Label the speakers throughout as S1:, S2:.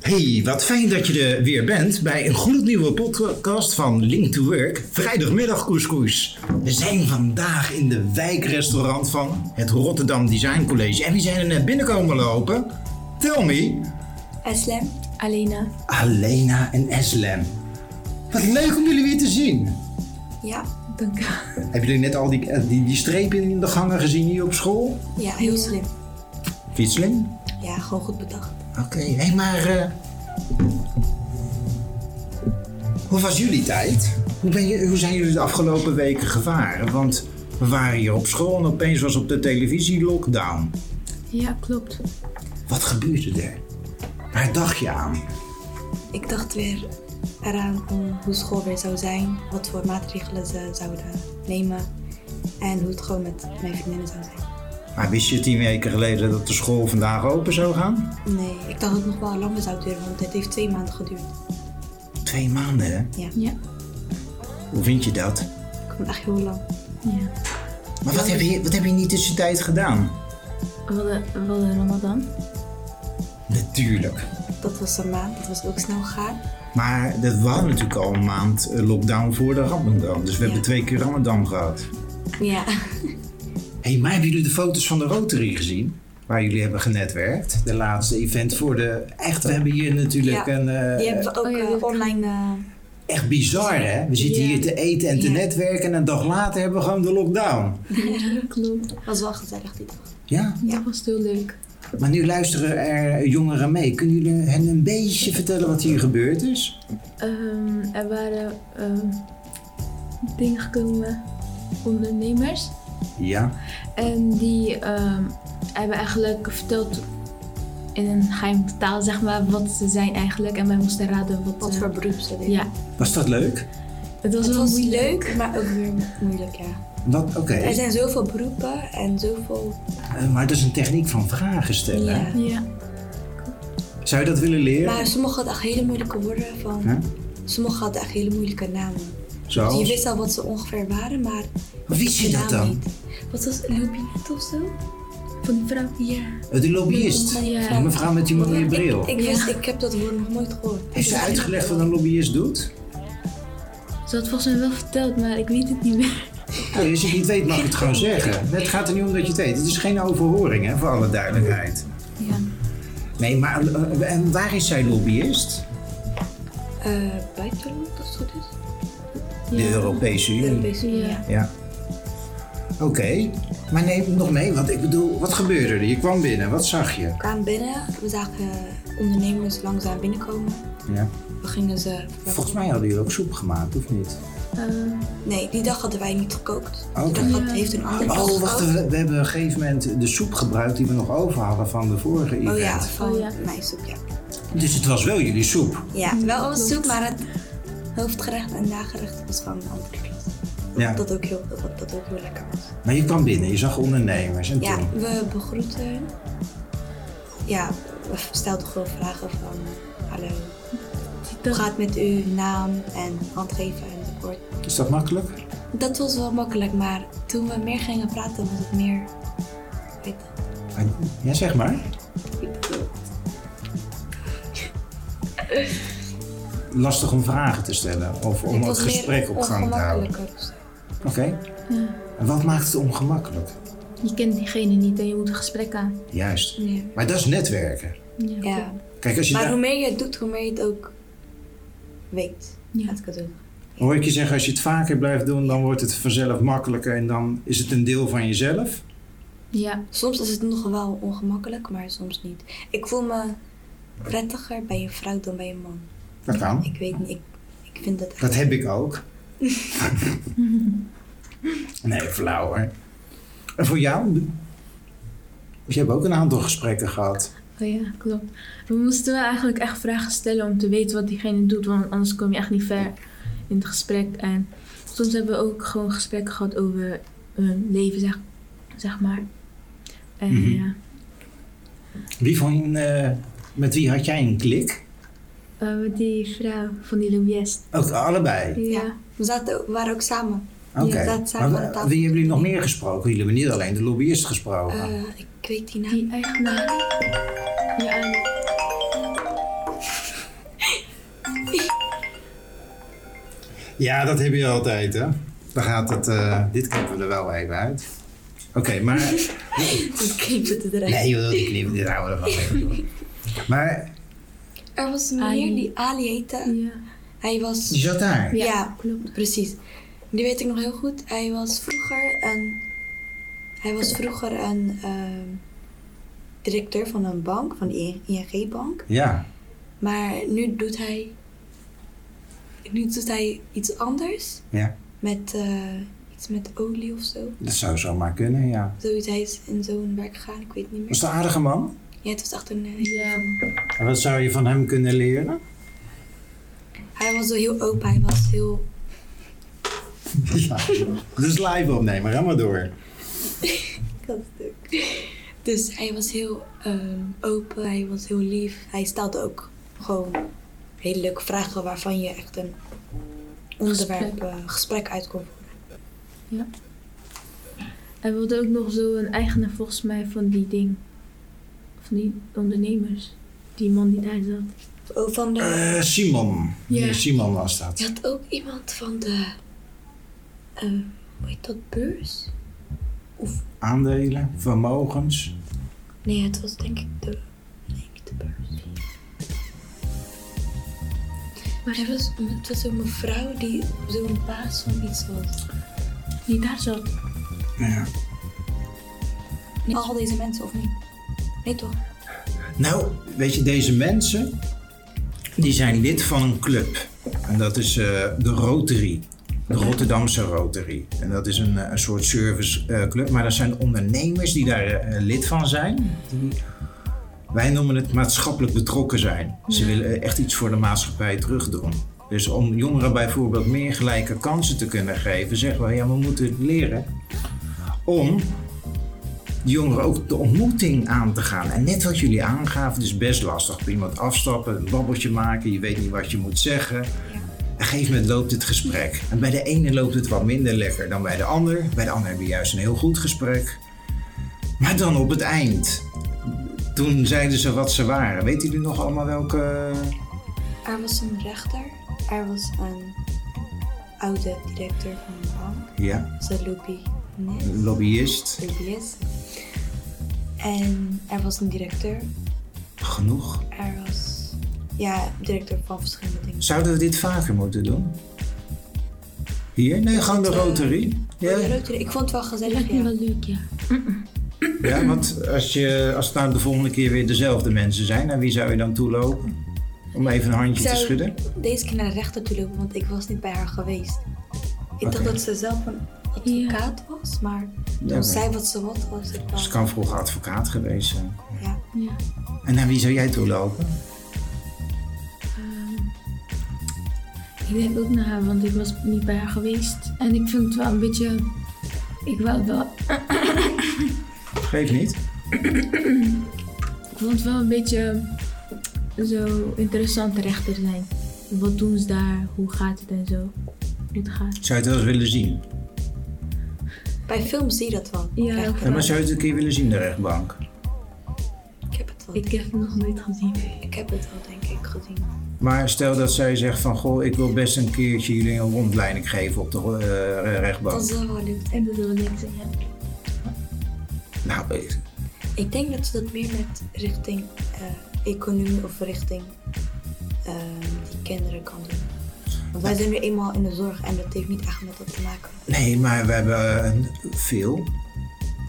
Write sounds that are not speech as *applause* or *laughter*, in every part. S1: Hey, wat fijn dat je er weer bent bij een gloednieuwe podcast van Link to Work, vrijdagmiddag couscous. We zijn vandaag in de wijkrestaurant van het Rotterdam Design College. En wie zijn er net binnenkomen lopen? Tell me,
S2: Eslem.
S3: Alena.
S1: Alena en Eslem. Wat leuk om jullie weer te zien.
S2: Ja.
S3: Dank u.
S1: Hebben jullie net al die, eh, die, die strepen in de gangen gezien hier op school?
S2: Ja, Ah, heel
S3: Ja.
S2: slim.
S1: Fietsling?
S2: Ja, gewoon goed bedacht.
S1: Oké, hey, maar. eh, hoe was jullie tijd? Hoe, ben je, hoe zijn jullie de afgelopen weken gevaren? Want we waren hier op school en opeens was op de televisie lockdown.
S3: Ja, klopt.
S1: Wat gebeurde er? Waar dacht je aan?
S2: Ik dacht weer eraan om hoe school weer zou zijn, wat voor maatregelen ze zouden nemen en hoe het gewoon met mijn vriendinnen zou zijn.
S1: Maar wist je tien weken geleden dat de school vandaag open zou gaan?
S2: Nee, ik dacht dat het nog wel langer zou duren, want het heeft twee maanden geduurd.
S1: Twee maanden, hè?
S2: Ja,
S3: Ja.
S1: Hoe vind je dat?
S2: ik vond het echt heel lang.
S3: ja.
S1: Maar wat heb je, wat heb je in die tussentijd gedaan?
S3: We hadden, we hadden Ramadan.
S1: Natuurlijk.
S2: Dat was een maand, dat was ook snel gegaan.
S1: Maar dat waren natuurlijk al een maand eh, lockdown voor de Ramadan. Dus we
S2: Ja.
S1: hebben twee keer Ramadan gehad.
S2: Ja.
S1: Hé, hey, maar hebben jullie de foto's van de Rotary gezien? Waar jullie hebben genetwerkt. De laatste event voor de... Echt, we hebben hier natuurlijk
S2: Ja.
S1: een... eh,
S2: Die hebben we ook
S3: oh ja,
S2: eh,
S3: die heb ik-
S2: online. eh,
S1: Echt bizar, hè? We zitten
S3: Ja.
S1: hier te eten en te
S2: Ja.
S1: netwerken... en een dag later hebben we gewoon de lockdown.
S3: Ja, klopt.
S2: was wel gezellig die dag.
S1: Ja,
S3: Dat was heel leuk.
S1: maar nu luisteren er jongeren mee. Kunnen jullie hen een beetje vertellen wat hier gebeurd is?
S3: Ehm, er waren ehm, dingen gekomen, ondernemers.
S1: Ja.
S3: En die ehm, hebben eigenlijk verteld in een geheime taal, zeg maar, wat ze zijn eigenlijk. En wij moesten raden wat,
S2: Wat
S3: eh,
S2: voor beroep ze deden.
S3: Ja,
S1: Was dat leuk?
S3: het was
S2: Het
S3: wel
S2: was
S3: moeilijk.
S2: leuk, maar ook weer moeilijk, ja.
S1: Wat? Oké.
S2: Er zijn zoveel beroepen en zoveel
S1: Eh, Maar dat is een techniek van vragen stellen.
S2: Ja.
S3: Ja.
S1: Zou je dat willen leren?
S2: Maar sommigen hadden echt hele moeilijke woorden van.
S1: Hè?
S2: Sommigen hadden echt hele moeilijke namen. Dus je
S1: Zoals?
S2: wist al wat ze ongeveer waren, maar.
S1: Hoe wist je
S2: de
S1: dat
S2: naam
S1: dan?
S2: Niet. Wat was het? Lobinet of zo?
S3: Van die vrouw.
S2: Ja.
S1: De lobbyist.
S2: Ja.
S1: Die mevrouw met die mooie bril.
S2: Ik, ik wist, ik heb dat woord nog nooit gehoord.
S1: Heeft ze uitgelegd wat een lobbyist doet?
S3: Ze had volgens mij wel verteld, maar ik weet het niet meer.
S1: Nou, als je het niet weet, mag ik het gewoon zeggen. Het gaat er niet om dat je het weet. Het is geen overhoring, hè, voor alle duidelijkheid.
S3: Ja.
S1: Nee, maar eh, en waar is zij lobbyist?
S2: Eh, buitenland, als het goed is?
S1: De Europese
S2: De
S1: Unie.
S2: Europese Unie, ja.
S1: Ja. Oké, maar neem het nog mee, want ik bedoel, wat gebeurde er? Je kwam binnen, wat zag je?
S2: We kwamen binnen, we zagen eh, ondernemers langzaam binnenkomen.
S1: Ja.
S2: We gingen ze.
S1: Volgens mij hadden jullie ook soep gemaakt, of niet?
S3: Ehm,
S2: Nee, die dag hadden wij niet gekookt.
S1: Oké.
S2: Die dag had, heeft een ander
S1: Oh, wacht,
S2: gekookt.
S1: we, we hebben op een gegeven moment de soep gebruikt die we nog over hadden van de vorige event.
S2: Oh ja, van
S3: Oh ja.
S2: mijn soep, ja.
S1: Dus het was wel jullie soep.
S2: Ja, wel een
S3: klopt.
S2: soep, maar het hoofdgerecht en nagerecht was van een andere klas.
S1: Ja.
S2: Dat, ook heel, dat, dat ook heel lekker was.
S1: Maar je kwam binnen, je zag ondernemers en
S2: Ja,
S1: toen.
S2: we begroeten hun. Ja, we stelden gewoon vragen van hallo, hoe
S3: dat-
S2: gaat het met u, naam en handgeven enzovoort.
S1: Is dat makkelijk?
S2: Dat was wel makkelijk, maar toen we meer gingen praten was het meer... Weet je,
S1: Ah, Ja, zeg maar.
S2: ik bedoel,
S1: Lastig om vragen te stellen of om het
S2: het was
S1: gesprek
S2: meer
S1: op gang te houden.
S2: ongemakkelijker of zo.
S1: Oké.
S3: Ja.
S1: En wat maakt het ongemakkelijk?
S3: Je kent diegene niet en je moet een gesprek aan.
S1: Juist.
S2: Ja.
S1: Maar dat is netwerken.
S2: Ja.
S1: Kijk, als je
S2: Maar
S1: daar-
S2: hoe meer je het doet, hoe meer je het ook weet.
S3: Ja.
S2: Laat ik het doen.
S1: hoor ik je zeggen, als je het vaker blijft doen, dan wordt het vanzelf makkelijker en dan is het een deel van jezelf.
S3: Ja,
S2: Soms is het nog wel ongemakkelijk, maar soms niet. Ik voel me prettiger bij een vrouw dan bij een man.
S1: Dat kan.
S2: Ik weet niet, ik, ik vind dat echt...
S1: Dat heb ik ook. *laughs* nee, flauw hoor. En voor jou? Want je hebt ook een aantal gesprekken gehad.
S3: oh ja, klopt. We moesten wel eigenlijk echt vragen stellen om te weten wat diegene doet, want anders kom je echt niet ver in het gesprek. En soms hebben we ook gewoon gesprekken gehad over hun leven, zeg, zeg maar. En
S1: Mhm.
S3: ja,
S1: Wie van, eh, met wie had jij een klik?
S3: Eh, met die vrouw van die lobbyist.
S1: Ook allebei.
S3: Ja.
S2: Ja. We, zaten, ook- we waren ook samen.
S1: Oké.
S2: Ja, dat zijn
S1: Maar
S2: we- dat-
S1: Wie hebben jullie nog meer gesproken? Jullie hebben niet alleen de lobbyist gesproken.
S3: Ah.
S2: Eh, ik weet die naam.
S3: die eigenaar. Ja,
S1: Ja, dat heb je altijd, hè? Dan gaat het, eh, dit knippen we er wel even uit. Oké, maar...
S2: *laughs*
S3: Ik knip het eruit.
S1: Nee joh, die knippen, dit houden we er nou wel even. joh. Maar
S2: Er was een meneer
S3: Ali.
S2: die Ali heette.
S3: Ja,
S2: Hij was...
S1: je zat daar.
S3: Ja.
S2: ja,
S3: klopt.
S2: Precies. Die weet ik nog heel goed. Hij was vroeger een. Hij was vroeger een ehm, directeur van een bank, van de ING Bank.
S1: Ja.
S2: Maar nu doet hij. Nu doet hij iets anders.
S1: Ja.
S2: Met eh, iets met olie of zo.
S1: Dat zou zomaar kunnen, ja.
S2: Zoiets, hij is in zo'n werk gegaan, ik weet het niet
S1: Was
S2: meer.
S1: het een aardige man?
S2: Ja, het was echt een. eh,
S3: Ja,
S1: En wat zou je van hem kunnen leren?
S2: Hij was zo heel open, hij was heel.
S1: *laughs* Ja. Dus live opnemen, ga maar door.
S2: Dat stuk. *laughs* Dus hij was heel ehm, open, hij was heel lief. Hij stelde ook gewoon hele leuke vragen waarvan je echt een onderwerp,
S3: Gesprek.
S2: eh, gesprek uit kon voeren.
S3: en we hadden ook nog zo'n eigenaar volgens mij van die ding. Van die ondernemers. Die man die daar zat.
S2: Ook Oh, van de,
S1: Eh, Simon.
S3: Ja.
S1: Meneer Simon was
S2: je
S1: dat.
S2: had ook iemand van de, eh, hoe heet dat, beurs?
S1: Aandelen, vermogens.
S2: Nee, het was denk ik de, nee, niet de beurs. Maar hij was, het was een mevrouw die zo'n baas van iets was.
S3: Die daar zat.
S1: Ja.
S2: Al deze mensen of niet? Nee toch?
S1: Nou, weet je, deze mensen, die zijn lid van een club. En dat is eh, de Rotary. De Rotterdamse Rotary. En dat is een, eh, een soort serviceclub. maar dat zijn ondernemers die daar eh, lid van zijn. Die, wij noemen het maatschappelijk betrokken zijn. Ze willen eh, echt iets voor de maatschappij terugdoen. Dus om jongeren bijvoorbeeld meer gelijke kansen te kunnen geven, zeggen we, ja, we moeten leren om de jongeren ook de ontmoeting aan te gaan. En net wat jullie aangaven, het is best lastig. Op iemand afstappen, een babbeltje maken, je weet niet wat je moet zeggen. En Op een gegeven moment loopt het gesprek. En bij de ene loopt het wat minder lekker dan bij de ander. Bij de ander hebben we juist een heel goed gesprek. Maar dan op het eind. Toen zeiden ze wat ze waren. Weten jullie nog allemaal welke...
S2: Er was een rechter, er was een oude directeur van een bank,
S1: Ja,
S2: ze lobby, nee,
S1: lobbyist.
S2: lobbyist. En er was een directeur,
S1: Genoeg.
S2: er was, ja, directeur van verschillende dingen.
S1: Zouden we dit vaker moeten doen? Hier? Nee, gewoon de Rotary. Ja.
S2: Oh, de Rotary, ik vond het wel
S3: Dat
S2: gezellig,
S3: lijkt me
S2: ja.
S3: wel leuk, *laughs* ja.
S1: Ja, want als, je, als het nou de volgende keer weer dezelfde mensen zijn, naar wie zou je dan toelopen? Om even een handje
S2: Ik zou
S1: te schudden?
S2: deze keer naar de rechter toe lopen, want ik was niet bij haar geweest. Ik dacht
S1: Oké.
S2: dat ze zelf een advocaat was, maar toen
S1: Ja,
S2: zij wat ze wat was, ik
S1: Ze
S2: was,
S1: kan vroeger advocaat geweest zijn.
S2: ja.
S3: ja.
S1: En naar wie zou jij toelopen?
S3: Ehm, ik denk ook naar haar, want ik was niet bij haar geweest. En ik vind het wel een beetje. Ik, wou wel,
S1: Geef niet.
S3: ik vond het wel een beetje zo interessant rechter zijn. Wat doen ze daar? Hoe gaat het en zo? Hoe het gaat.
S1: Zou je het wel eens willen zien?
S2: Bij films zie je dat wel.
S3: Ja,
S2: Echt.
S1: Ja, maar zou je het een keer willen zien, de rechtbank?
S2: ik heb het wel.
S3: Ik
S2: Ik,
S3: heb het nog nooit gezien.
S2: ik heb het wel denk ik gezien.
S1: Oh. Maar stel dat zij zegt van, goh, ik wil best een keertje jullie een rondleiding geven op de eh, rechtbank.
S2: Dat is wel wel leuk.
S3: En dat wil ik zeggen.
S1: Nou, eh,
S2: Ik denk dat ze dat meer met richting eh, economie of richting eh, die kinderen kan doen. Want wij zijn nu eenmaal in de zorg en dat heeft niet echt met dat te maken.
S1: Nee, maar we hebben eh, veel.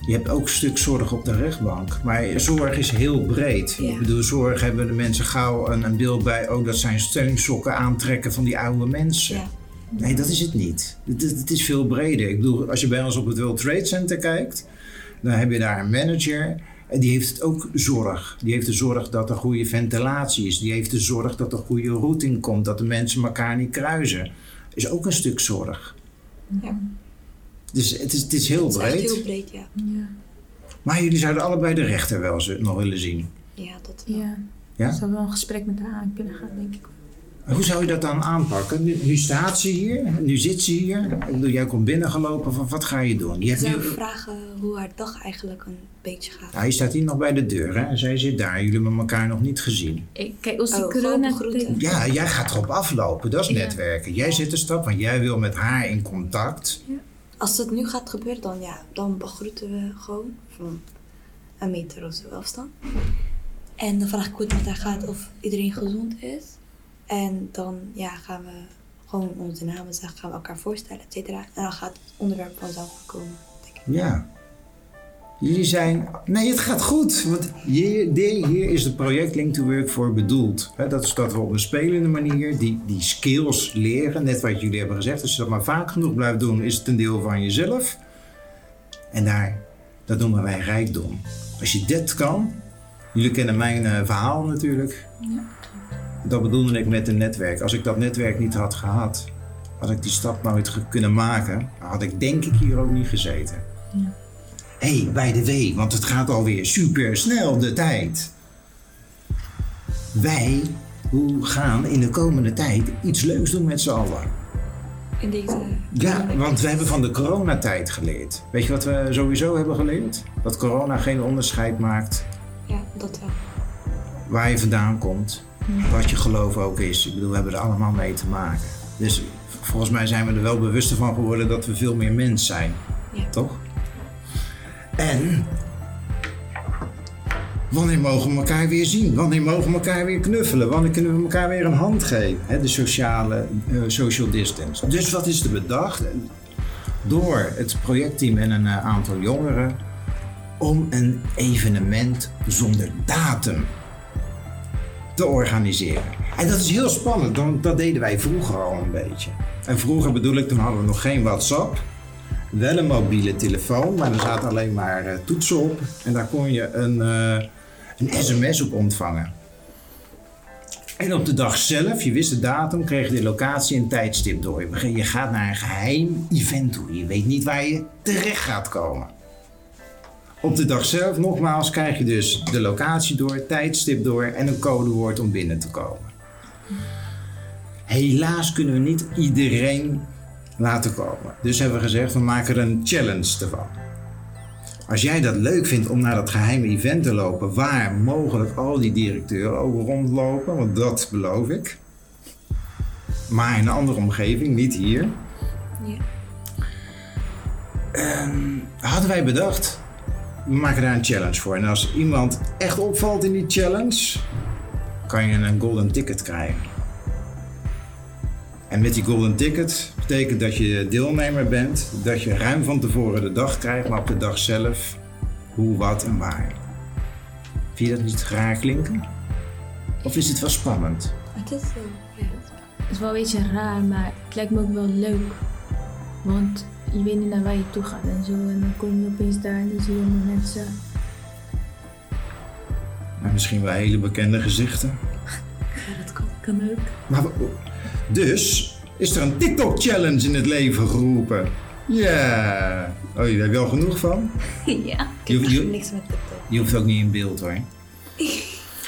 S1: Je hebt ook een stuk zorg op de rechtbank. Maar zorg is heel breed.
S2: Ja.
S1: Ik bedoel, zorg hebben de mensen gauw een, een beeld bij. Oh, dat zijn steunsokken aantrekken van die oude mensen.
S2: Ja.
S1: Nee, dat is het niet. Het, is- het is veel breder. Ik bedoel, als je bij ons op het World Trade Center kijkt, dan heb je daar een manager. En die heeft ook zorg. Die heeft de zorg dat er goede ventilatie is. Die heeft de zorg dat er goede routing komt. Dat de mensen elkaar niet kruisen. Is ook een stuk zorg.
S2: Ja.
S1: Dus het is, het is heel
S2: Het is echt
S1: breed.
S2: heel breed, ja.
S3: Ja.
S1: Maar jullie zouden allebei de rechter wel eens nog willen zien.
S2: Ja, dat wel.
S3: ja.
S1: Ja?
S3: Ik zou wel een gesprek met haar aan kunnen gaan, denk ik.
S1: Hoe zou je dat dan aanpakken? Nu, nu staat ze hier, nu zit ze hier. Ik bedoel, jij komt binnengelopen, van wat ga je doen? Je
S2: Ik
S1: hebt
S2: zou
S1: nu,
S2: vragen hoe haar dag eigenlijk een beetje gaat.
S1: hij staat hier nog bij de deur hè? en zij zit daar. Jullie hebben elkaar nog niet gezien.
S3: Ik, kijk, als de
S2: Oh, gewoon
S3: corona...
S2: begroeten.
S1: Ja, jij gaat erop aflopen, dat is
S3: Ja.
S1: netwerken. Jij zet een stap, want jij wil met haar in contact.
S2: Als dat nu gaat gebeuren, dan ja, dan begroeten we gewoon van een meter of zo afstand. En dan vraag ik hoe het met haar gaat, of iedereen gezond is. En dan ja, gaan we gewoon onze namen zeggen, gaan we elkaar voorstellen, et cetera. En dan gaat het onderwerp vanzelf komen. denk ik.
S1: Ja. Jullie zijn... Nee, het gaat goed. Want hier, de- hier is het project Link to Work voor bedoeld. Hè, dat is dat we op een spelende manier die, die skills leren. Net wat jullie hebben gezegd. Als je dat maar vaak genoeg blijft doen, is het een deel van jezelf. En daar, dat noemen wij rijkdom. Als je dit kan... Jullie kennen mijn eh, verhaal natuurlijk. Dat bedoelde ik met een netwerk. Als ik dat netwerk niet had gehad, had ik die stap nooit ge- kunnen maken. Had ik denk ik hier ook niet gezeten. Hé, hey, bij de W, want het gaat alweer super snel de tijd. Wij hoe gaan in de komende tijd iets leuks doen met z'n allen.
S2: In deze...
S1: Ja, want we hebben van de coronatijd geleerd. Weet je wat we sowieso hebben geleerd? Dat corona geen onderscheid maakt
S2: Ja, dat wel.
S1: waar je vandaan komt, wat je geloof ook is. Ik bedoel, we hebben er allemaal mee te maken. Dus volgens mij zijn we er wel bewuster van geworden dat we veel meer mens zijn.
S2: Ja.
S1: Toch? En wanneer mogen we elkaar weer zien? Wanneer mogen we elkaar weer knuffelen? Wanneer kunnen we elkaar weer een hand geven? Hè, de sociale eh, social distance. Dus wat is er bedacht? Door het projectteam en een eh, aantal jongeren om een evenement zonder datum te organiseren. En dat is heel spannend, want dat deden wij vroeger al een beetje. En vroeger bedoel ik, toen hadden we nog geen WhatsApp. Wel een mobiele telefoon, maar er zaten alleen maar eh, toetsen op. En daar kon je een, eh, een sms op ontvangen. En op de dag zelf, je wist de datum, kreeg je de locatie en tijdstip door. Je begint- Je gaat naar een geheim event toe. Je weet niet waar je terecht gaat komen. Op de dag zelf, nogmaals, krijg je dus de locatie door, tijdstip door en een codewoord om binnen te komen. Helaas kunnen we niet iedereen laten komen. Dus hebben we gezegd, we maken er een challenge ervan. Als jij dat leuk vindt om naar dat geheime event te lopen, waar mogelijk al die directeuren ook rondlopen, want dat beloof ik. Maar in een andere omgeving, niet hier.
S2: Ja.
S1: hadden wij bedacht, we maken daar een challenge voor. En als iemand echt opvalt in die challenge, kan je een golden ticket krijgen. En met die golden ticket betekent dat je deelnemer bent, dat je ruim van tevoren de dag krijgt, maar op de dag zelf hoe, wat en waar. Vind je dat niet raar klinken? Of is het wel spannend?
S2: Het is zo. Ja, het is-
S3: Het is wel een beetje raar, maar het lijkt me ook wel leuk. Want je weet niet naar waar je toe gaat en zo. En dan kom je opeens daar en dan zie je allemaal mensen.
S1: En misschien wel hele bekende gezichten.
S2: ja, dat kan.
S3: Kan ook. *laughs*
S1: Maar wa- dus is er een TikTok-challenge in het leven geroepen. Ja. Oh, je hebt wel genoeg van?
S3: ja.
S1: Je, hoeft- je-
S2: Niks met TikTok.
S1: je hoeft ook niet in beeld hoor.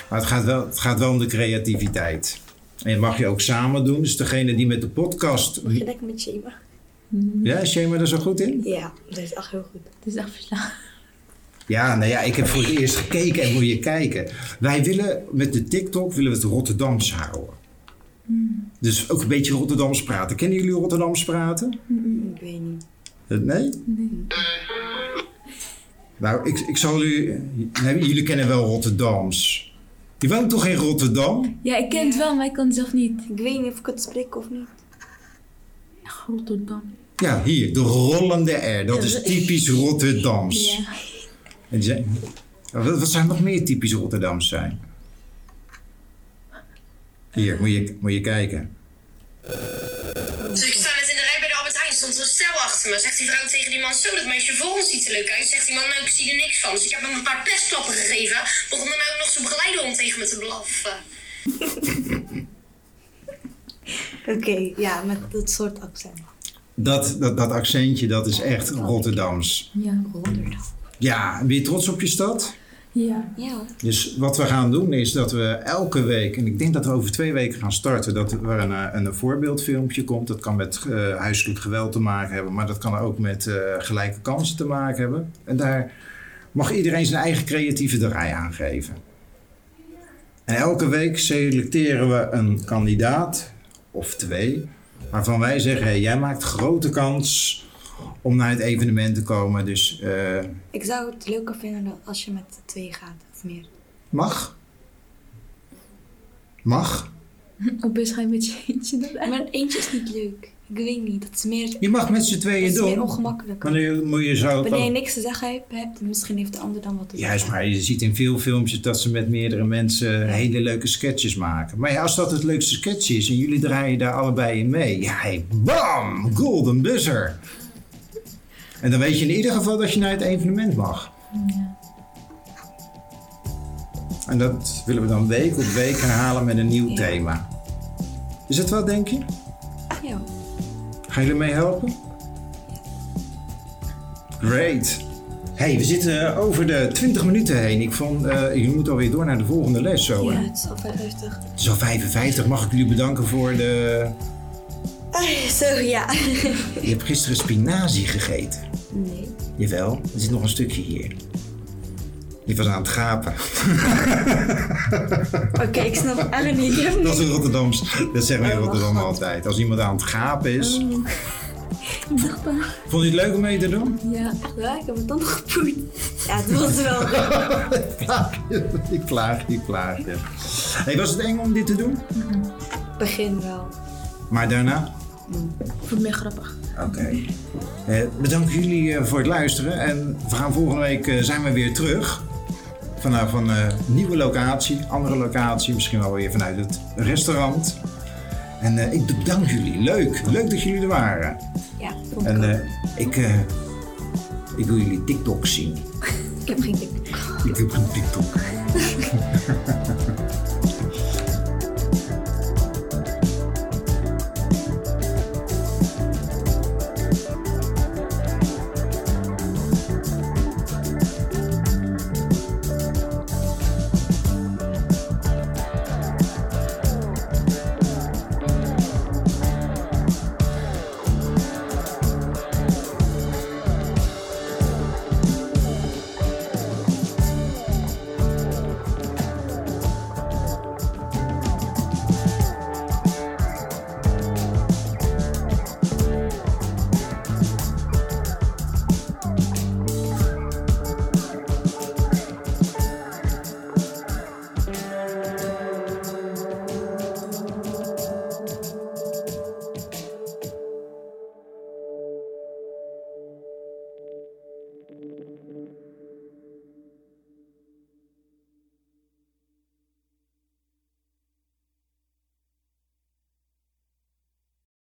S1: Maar het gaat, wel, het gaat wel om de creativiteit. En dat mag je ook samen doen. Dus degene die met de podcast...
S2: Mag je lekker met Shema?
S1: Ja, is Shema er zo goed in?
S2: Ja, dat is echt heel goed.
S3: Het is echt verslaafd.
S1: Ja, nou ja, ik heb voor het eerst gekeken en moet je kijken. Wij willen met de TikTok willen we het Rotterdams houden. Dus ook een beetje Rotterdams praten. Kennen jullie Rotterdams praten?
S2: Ik weet niet.
S1: Eh, Nee? Nou, ik, ik zal u. nee, jullie kennen wel Rotterdams. Je woont toch in Rotterdam?
S3: Ja, ik ken het wel, maar ik kan het zelf niet.
S2: Ik weet niet of ik het spreek of niet.
S3: Echt Rotterdam.
S1: Ja, hier, de rollende R. Dat is typisch Rotterdams.
S3: Ja.
S1: En die zijn, Nou, wat, wat zou nog meer typisch Rotterdams zijn? Hier, moet je, moet je kijken.
S4: Dus ik sta net in de rij bij de Albert Heijn, stond een stel achter me. Zegt die vrouw tegen die man, zo dat meisje voor ons ziet er leuk uit. Zegt die man, nou ik zie er niks van. Dus ik heb hem een paar pestklappen gegeven. Begon dan ook nog zijn begeleider om tegen me te blaffen.
S2: Oké, ja, met dat soort accent.
S1: Dat, dat, dat accentje, dat is echt Rotterdams.
S3: Ja.
S2: Honderd.
S1: Ja, en ben je trots op je stad?
S3: Ja.
S2: Ja hoor.
S1: Dus wat we gaan doen is dat we elke week, en ik denk dat we over twee weken gaan starten, dat er een, eh, een voorbeeldfilmpje komt. Dat kan met eh, huiselijk geweld te maken hebben, maar dat kan ook met eh, gelijke kansen te maken hebben. En daar mag iedereen zijn eigen creatieve draai aan geven. En elke week selecteren we een kandidaat of twee, waarvan wij zeggen: hey, jij maakt grote kans om naar het evenement te komen. Dus eh,
S2: Ik zou het leuker vinden dan als je met twee gaat of *laughs* meer.
S1: mag. Mag.
S3: Op is ga je met je eentje dan
S2: Maar eentje is niet leuk. Ik weet niet. Dat is meer, dat
S1: Je mag met z'n tweeën
S2: is meer
S1: doen.
S2: ongemakkelijk.
S1: Maar dan moet je zo.
S2: Wanneer je niks te zeggen hebt- hebt, misschien heeft de ander dan wat te zeggen.
S1: Juist, maar je ziet in veel filmpjes dat ze met meerdere mensen hele leuke sketches maken. Maar ja, als dat het leukste sketch is en jullie draaien daar allebei in mee. Ja, hey, bam! Golden buzzer! En dan weet je in ieder geval dat je naar het evenement mag. En dat willen we dan week op week herhalen met een nieuw
S2: Ja.
S1: thema. Is het wat, denk je?
S2: Ja.
S1: Gaan jullie mee helpen? Great. hey, we zitten over de 20 minuten heen. Ik vond, eh, jullie moeten alweer door naar de volgende les zo.
S2: ja,
S1: hè?
S2: het is al 50.
S1: Het is al 55. Mag ik jullie bedanken voor de...
S2: Ah, *laughs* Zo, ja.
S1: Je hebt gisteren spinazie gegeten.
S2: Nee.
S1: Jawel, er zit nog een stukje hier. Die was aan het gapen. *laughs*
S2: Oké, ik snap Ellen niet.
S1: *laughs* Dat is een Rotterdams. Dat zeggen we in
S2: Oh,
S1: Rotterdam altijd. Als iemand aan het gapen is.
S3: Dankbaar.
S1: Vond je het leuk om mee te doen?
S3: Ja.
S2: Ja, ik heb het dan nog gepoet. Ja, het was wel.
S1: *laughs* ik klaag, ik klaag. ja. hey, was het eng om dit te doen?
S2: Begin wel.
S1: Maar daarna?
S3: Ik vond het meer grappig.
S1: Oké. Eh, bedankt jullie eh, voor het luisteren. En we gaan volgende week eh, zijn we weer terug. Vanaf een eh, nieuwe locatie, andere locatie. Misschien wel weer vanuit het restaurant. En eh, ik bedank jullie. Leuk. Leuk dat jullie er waren.
S2: Ja, vond ik
S1: En
S2: ook.
S1: eh, ik, eh, ik wil jullie TikTok zien.
S2: Ik heb geen tik.
S1: Ik heb een TikTok.